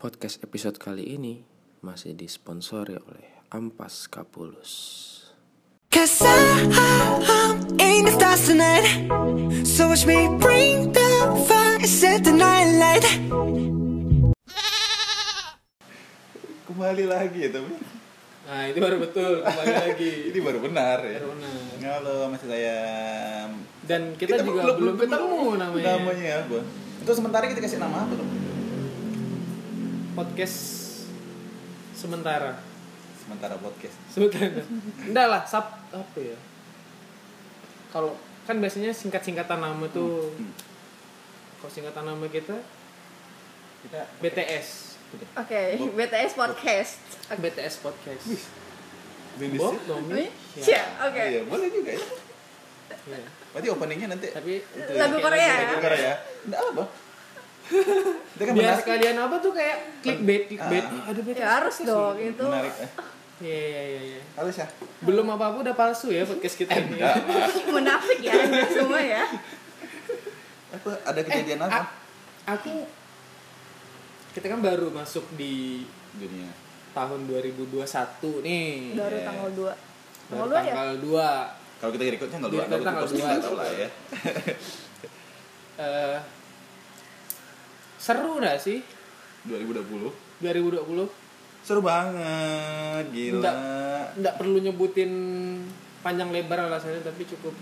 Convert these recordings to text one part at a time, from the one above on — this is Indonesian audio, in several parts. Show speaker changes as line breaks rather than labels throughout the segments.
Podcast episode kali ini masih disponsori oleh Ampas Kapulus.
Cause I, I, I'm in the stars tonight So watch me bring the fire, set the night light
kembali lagi ya tapi
Nah itu baru betul kembali lagi.
ini baru benar ya
Baru benar.
halo masih saya
Dan kita, juga belum, ketemu namanya.
namanya ya gua itu sementara kita kasih nama apa dong
Podcast sementara.
sementara podcast
Sementara. Enggak lah, sub apa ya? Kalau kan biasanya singkat-singkatan nama tuh. Kalau singkatan nama kita
kita
BTS.
Oke, BTS podcast. Oke.
BTS podcast.
Bindi
Bob,
sih.
Domi.
Cia,
Oh, iya
oke.
boleh juga ya
Iya.
berarti openingnya nanti
Tapi
Itu
Lagu Korea.
Lagu Korea ya enggak apa itu kan
biar
menarik
sekalian apa tuh kayak clickbait, clickbait.
Ah.
Aduh,
Ya harus dong itu.
menarik eh.
Iya, iya, iya, iya.
halus ya
Belum apa-apa udah palsu ya podcast kita ini.
enggak lah.
Munafik ya Anda semua ya.
apa ada
Eh,
kejadian apa
A- aku kita kan baru masuk di
dunia
tahun 2021 nih.
Baru
Iya.
tanggal 2. Tanggal
Baru
2 ya?
tanggal 2.
kalau kita rekodnya nggak
Iya,
luar kalau kita
tanggal
posting
dua.
nggak tahu lah ya
Eh, seru gak sih
2020
2020?
seru banget gila
Enggak. Nggak perlu nyebutin panjang lebar alasannya tapi cukup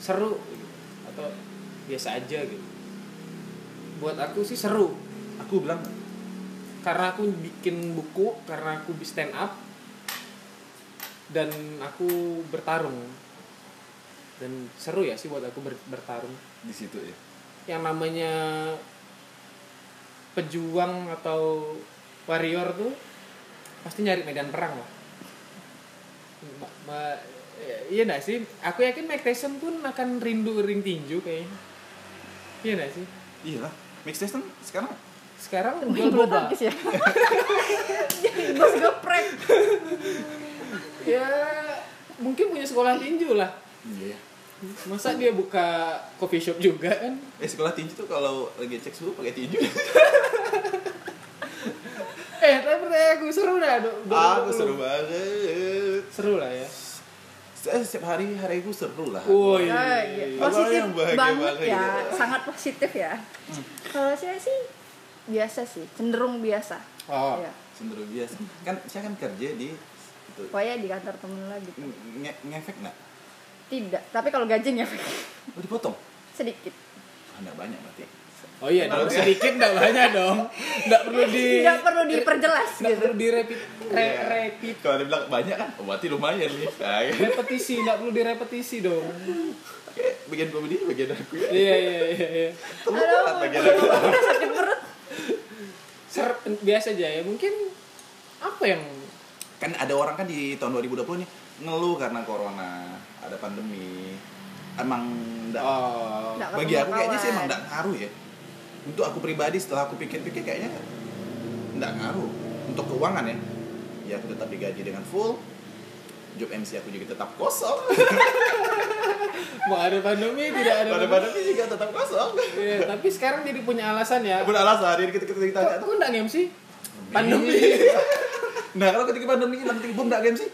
seru gitu. atau biasa aja gitu. Buat aku sih seru
aku bilang
karena aku bikin buku, karena aku stand up dan aku bertarung. Dan seru ya sih buat aku ber- bertarung.
di situ ya
yang namanya pejuang atau warrior tuh pasti nyari medan perang lah. Ma- ma- ya- iya gak sih? Aku yakin Mike Tyson pun akan rindu ring tinju kayaknya. Iya gak sih?
Iya lah, mix test kan sekarang
Sekarang jual
Bulu
boba.
tangkis ya. Jadi bos geprek.
Ya mungkin punya sekolah tinju lah.
Iya
Masa dia buka coffee shop juga kan?
Eh sekolah tinju tuh kalau lagi cek suhu pakai tinju
Eh tapi percaya aku seru dah. do- do-
Aku
do-
seru banget
Ah, Seru lah ya.
Eh, Setiap hari hari aku seru lah
Woi. Oh,
Ah, iya.
Apa
Positif
yang bahagia
banget
banget
ya.
gitu.
Sangat positif ya. Kalau saya sih biasa sih, cenderung biasa.
Oh.
Ya.
Cenderung biasa Kan saya kan kerja di itu.
Pokoknya di kantor temen lah gitu.
Nge- nge- Ngefek nggak?
Tidak, tapi kalau gajinya
Oh dipotong?
sedikit.
Ah, nggak banyak berarti
Oh iya dong, sedikit enggak banyak dong. Enggak perlu di
Enggak perlu diperjelas
nggak
gitu.
perlu direpit re, repit
Kalau dia bilang banyak kan, oh, berarti lumayan nih nah, kan.
repetisi, enggak perlu direpetisi dong.
Kayak bagian komedi bagian aku ya
Iya iya iya iya.
Telat bagian aku
Ser biasa aja ya. Mungkin apa yang
Kan ada orang kan di tahun 2020 nih Ngeluh karena corona Ada pandemi Emang nggak
oh,
Nggak
bagi
ketemu
aku kayaknya sih
kawan.
emang nggak ngaruh ya untuk aku pribadi setelah aku pikir-pikir kayaknya nggak ngaruh untuk keuangan ya ya aku tetap digaji dengan full job MC aku juga tetap kosong
mau ada pandemi tidak ada
pada
pandemi.
pandemi juga tetap kosong
Iya, tapi sekarang jadi punya alasan ya.
pun alasan hari ini kita kita kita
Kok enggak MC? Pandemi.
nah kalau ketika pandemi ini nanti bom nggak game sih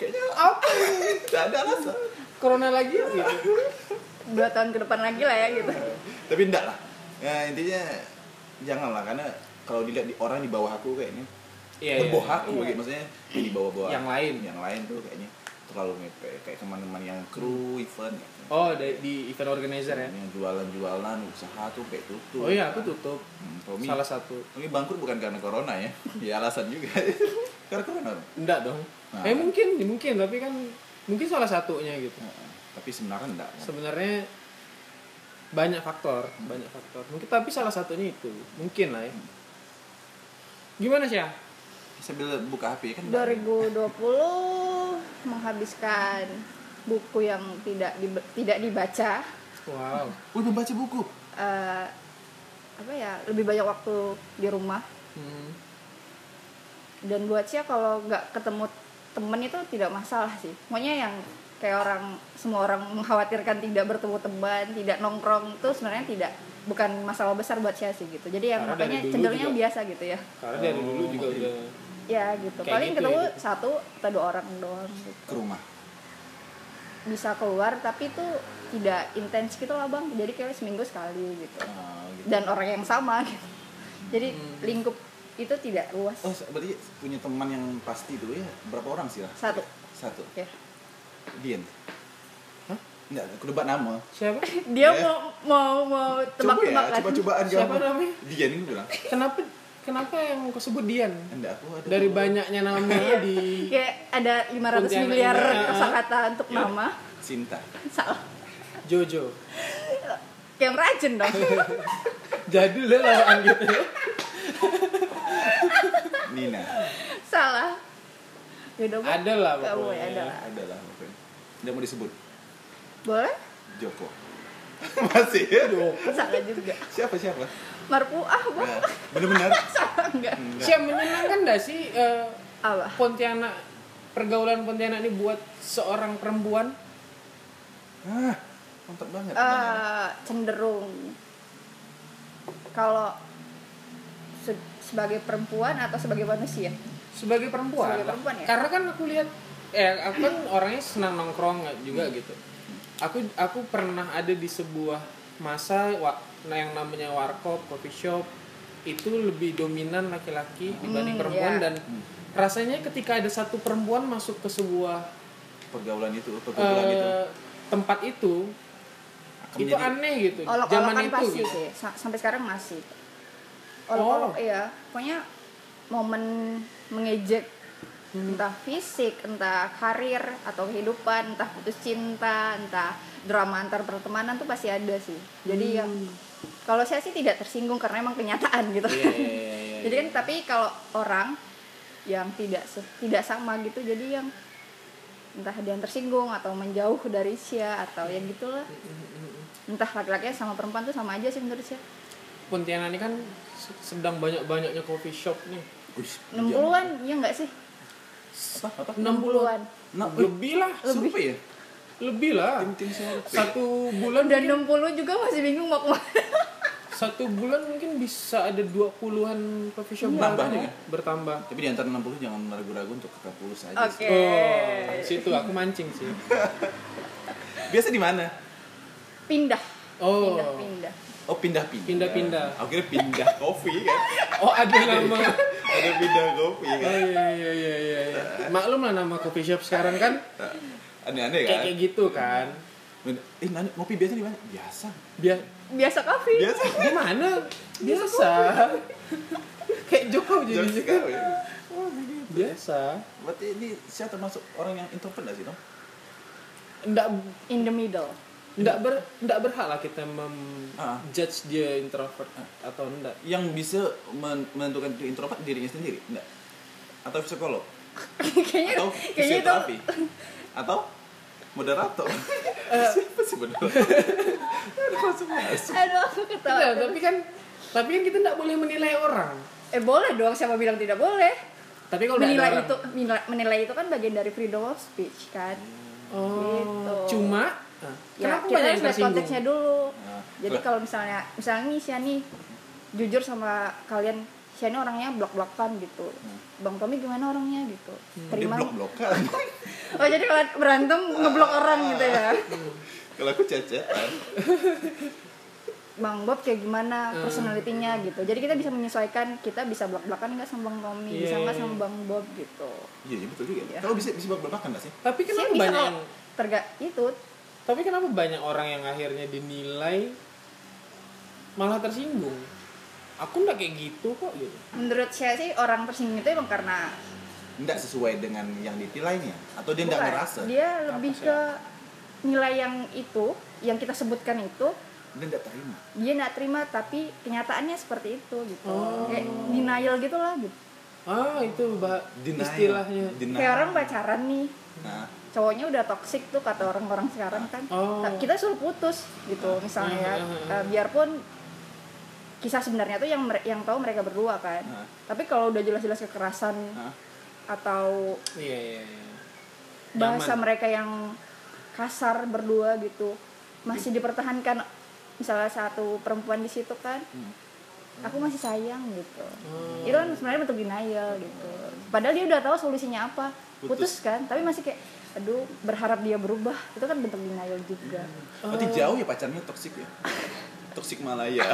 kayaknya apa ini? nggak ada alasan
Corona lagi gitu.
Dua tahun ke depan lagi lah ya gitu.
tapi enggak lah ya intinya janganlah karena kalau dilihat di orang di bawah aku kayaknya
Iya iya.
terbohak bagi maksudnya yang di bawah-bawah
Yang lain.
yang lain tuh kayaknya terlalu ngepe kayak teman-teman yang kru event ya.
Oh, di, di event organizer ya.
yang jualan-jualan usaha tuh kayak tutup
Oh iya, aku tutup.
hmm, Tommy
Salah satu.
Tommy bangkrut bukan karena corona ya ya alasan juga karena corona Bang.
Enggak dong.
Nah.
Eh mungkin, mungkin tapi kan mungkin salah satunya gitu.
Heeh. tapi sebenarnya enggak kan?
Sebenarnya banyak faktor, banyak faktor. Mungkin tapi salah satunya itu. Mungkin lah ya. Gimana sih ya?
sambil buka HP kan enggak.
2020 menghabiskan buku yang tidak dib- tidak dibaca
Wow.
Wih, membaca buku
eh, apa ya lebih banyak waktu di rumah
Hmm.
dan buat saya kalau nggak ketemu temen itu tidak masalah sih pokoknya yang kayak orang semua orang mengkhawatirkan tidak bertemu teman tidak nongkrong itu sebenarnya tidak bukan masalah besar buat Sia sih gitu. Jadi ya
Karena dari
makanya
dulu
cenderungnya
juga-
biasa gitu ya.
Karena dari dulu juga
oke.
udah
Ya gitu.
Kayak
Paling
gitu ya,
ketemu
gitu.
satu atau dua orang doang gitu.
ke rumah
Bisa keluar tapi itu tidak intens gitu lah bang. Jadi kayak seminggu sekali gitu.
Ah, gitu.
Dan orang yang sama gitu. Jadi lingkup itu tidak luas.
oh berarti punya teman yang pasti itu ya berapa orang sih lah
Satu.
satu
Ya.
Dian Nggak, aku debat nama
siapa?
Dia
Ya.
mau mau mau tebak-tebak
Coba ya,
kan.
coba-cobaan
Siapa
gampang.
namanya?
Dian ini bilang
Kenapa kenapa yang kau sebut Dian?
Enggak, aku ada
Dari
dua.
banyaknya nama di
Kayak ada 500
Pontianak
miliar
ini, ya.
kosakata untuk
Ya.
nama.
Cinta
Salah.
Jojo.
Yang rajin dong.
Jadul lah lawan gitu.
Nina
Salah. Yaudah, Bu.
Ada lah
Kamu
pokoknya.
ya, ada lah.
Ada lah pokoknya Nggak mau disebut
Boleh?
Joko Masih ya?
Salah juga.
Siapa siapa?
Marpuah, Bu.
Nah, bener-bener
Salah enggak?
Siapa menyenangkan enggak sih eh,
Apa?
Pontianak pergaulan Pontianak ini buat seorang perempuan?
Hah, Ah, mantap banget pertanyaannya.
Eh, cenderung kalau se- sebagai perempuan atau sebagai manusia
sebagai perempuan,
Sebagai perempuan ya?
karena kan aku lihat eh aku kan orangnya senang nongkrong nggak juga
Hmm.
gitu aku aku pernah ada di sebuah masa wa- nah, yang namanya warkop coffee shop itu lebih dominan laki-laki dibanding
Hmm,
perempuan
ya.
dan rasanya ketika ada satu perempuan masuk ke sebuah
Pergaulan itu, perkumpulan
eh,
gitu.
itu
tempat itu
akan
itu
menjadi-
aneh gitu zaman
olok-olokan
itu
kan pasti
gitu
sih Sa- sampai sekarang masih
Oh.
olok-olok iya pokoknya momen mengejek
Hmm.
entah fisik entah karir atau kehidupan entah putus cinta entah drama antar pertemanan tuh pasti ada sih jadi ya
Hmm.
kalau saya sih tidak tersinggung karena emang kenyataan gitu
Iya, iya, iya, iya,
jadi kan tapi kalau orang yang tidak se- tidak sama gitu jadi yang entah dia yang tersinggung atau menjauh dari Sia atau ya gitulah entah laki-laki sama perempuan tuh sama aja sih menurut saya
Pontianak ini kan se- sedang banyak-banyaknya coffee shop nih
Uish,
60-an iya enggak sih
Apa, apa?
60-an
Nah,
lebih lah
Survei ya?
lebih lah
Tim-tim survei
satu bulan
udah
mungkin-
60 juga masih bingung mau kemana
satu bulan mungkin bisa ada 20-an coffee shop
Nambah
baru
ya?
bertambah
Tapi di antara 60 jangan ragu-ragu untuk ke Kapulus aja
oke
oh di situ aku mancing sih
Biasa di mana?
pindah
oh
pindah-pindah
Oh, pindah-pindah.
Pindah-pindah.
Aku kira pindah kopi kan.
oh ada nama
Ada pindah kopi
oh
kan.
iya iya iya iya iya. maklum lah nama coffee shop sekarang kan
Aneh-aneh kan?
kayak kayak gitu kan
Eh, nanya, ngopi biasa di mana? Biasa.
biar
biasa kafe
Biasa.
gimana biasa kayak Joko jadi
Jauh
juga
sekali.
biasa
Berarti ini saya termasuk orang yang introvert gak sih, dong?
ndak
in the middle
ndak ber ndak berhak lah kita mem
Ah.
judge dia introvert atau enggak
Yang bisa men- menentukan diri introvert dirinya sendiri, enggak? Atau psikolog?
kayaknya
Atau
kayaknya itu
fisioterapi? Atau moderator? Siapa sih moderator?
aduh aku ketawa
Enggak, tapi kan tapi kan kita nggak boleh menilai orang.
eh boleh dong siapa bilang tidak boleh
Tapi kalau nggak ada
menilai
orang,
itu menilai, menilai itu kan bagian dari freedom of speech kan Gitu.
oh, cuma nah,
ya
kenapa banyak
kita harus
yang
lihat
tersinggung?
konteksnya dulu
Nah,
jadi
lah.
kalau misalnya misalnya nih Sia nih jujur sama kalian Sia nih orangnya blok-blokan gitu
Hmm.
Bang Tommy gimana orangnya gitu
Dia
terima
blok-blokan.
oh jadi kalau berantem
Ah.
ngeblok orang gitu ya
Kalau aku cecetan.
Bang Bob kayak gimana
Hmm.
personalitinya gitu jadi kita bisa menyesuaikan kita bisa blok-blokan nggak sama Bang Tommy bisa
Iya,
nggak
iya,
sama
iya.
Bang Bob gitu
Iya, iya, betul juga.
Iya.
Kalau bisa bisa blok-blokan gak sih?
Tapi
Sia
kenapa
bisa
banyak
kalau
yang,
terga itu
tapi kenapa banyak orang yang akhirnya dinilai malah tersinggung? Aku nggak kayak gitu kok gitu.
menurut saya sih orang tersinggung itu emang karena
Enggak sesuai dengan yang ditilainya atau dia enggak
Bukan.
ngerasa. Dia
Dia lebih
sih?
ke nilai yang itu, yang kita sebutkan itu,
enggak terima.
dia nggak terima tapi kenyataannya seperti itu gitu.
Oh.
Kayak denial gitu lah gitu.
Ah, itu bah,
Denial.
istilahnya.
Denial.
Kayak orang pacaran nih,
Nah,
cowoknya udah toxic tuh kata orang-orang sekarang kan.
Oh.
Nah, Kita suruh putus
Oh.
gitu misalnya ya.
Ah,
Iya,
ah, ah.
Eh, biarpun kisah sebenarnya tuh yang mere- yang tahu mereka berdua kan.
Ah.
Tapi kalau udah jelas-jelas kekerasan
nah.
atau
Iya, iya, iya.
bahasa
Nyaman.
mereka yang kasar berdua gitu masih dipertahankan misalnya satu perempuan di situ kan aku masih sayang gitu itu kan sebenarnya bentuk denial gitu padahal dia udah tahu solusinya apa putus. kan tapi masih kayak aduh berharap dia berubah itu kan bentuk denial juga
Berarti jauh ya pacarnya toksik ya? toksik Malaya.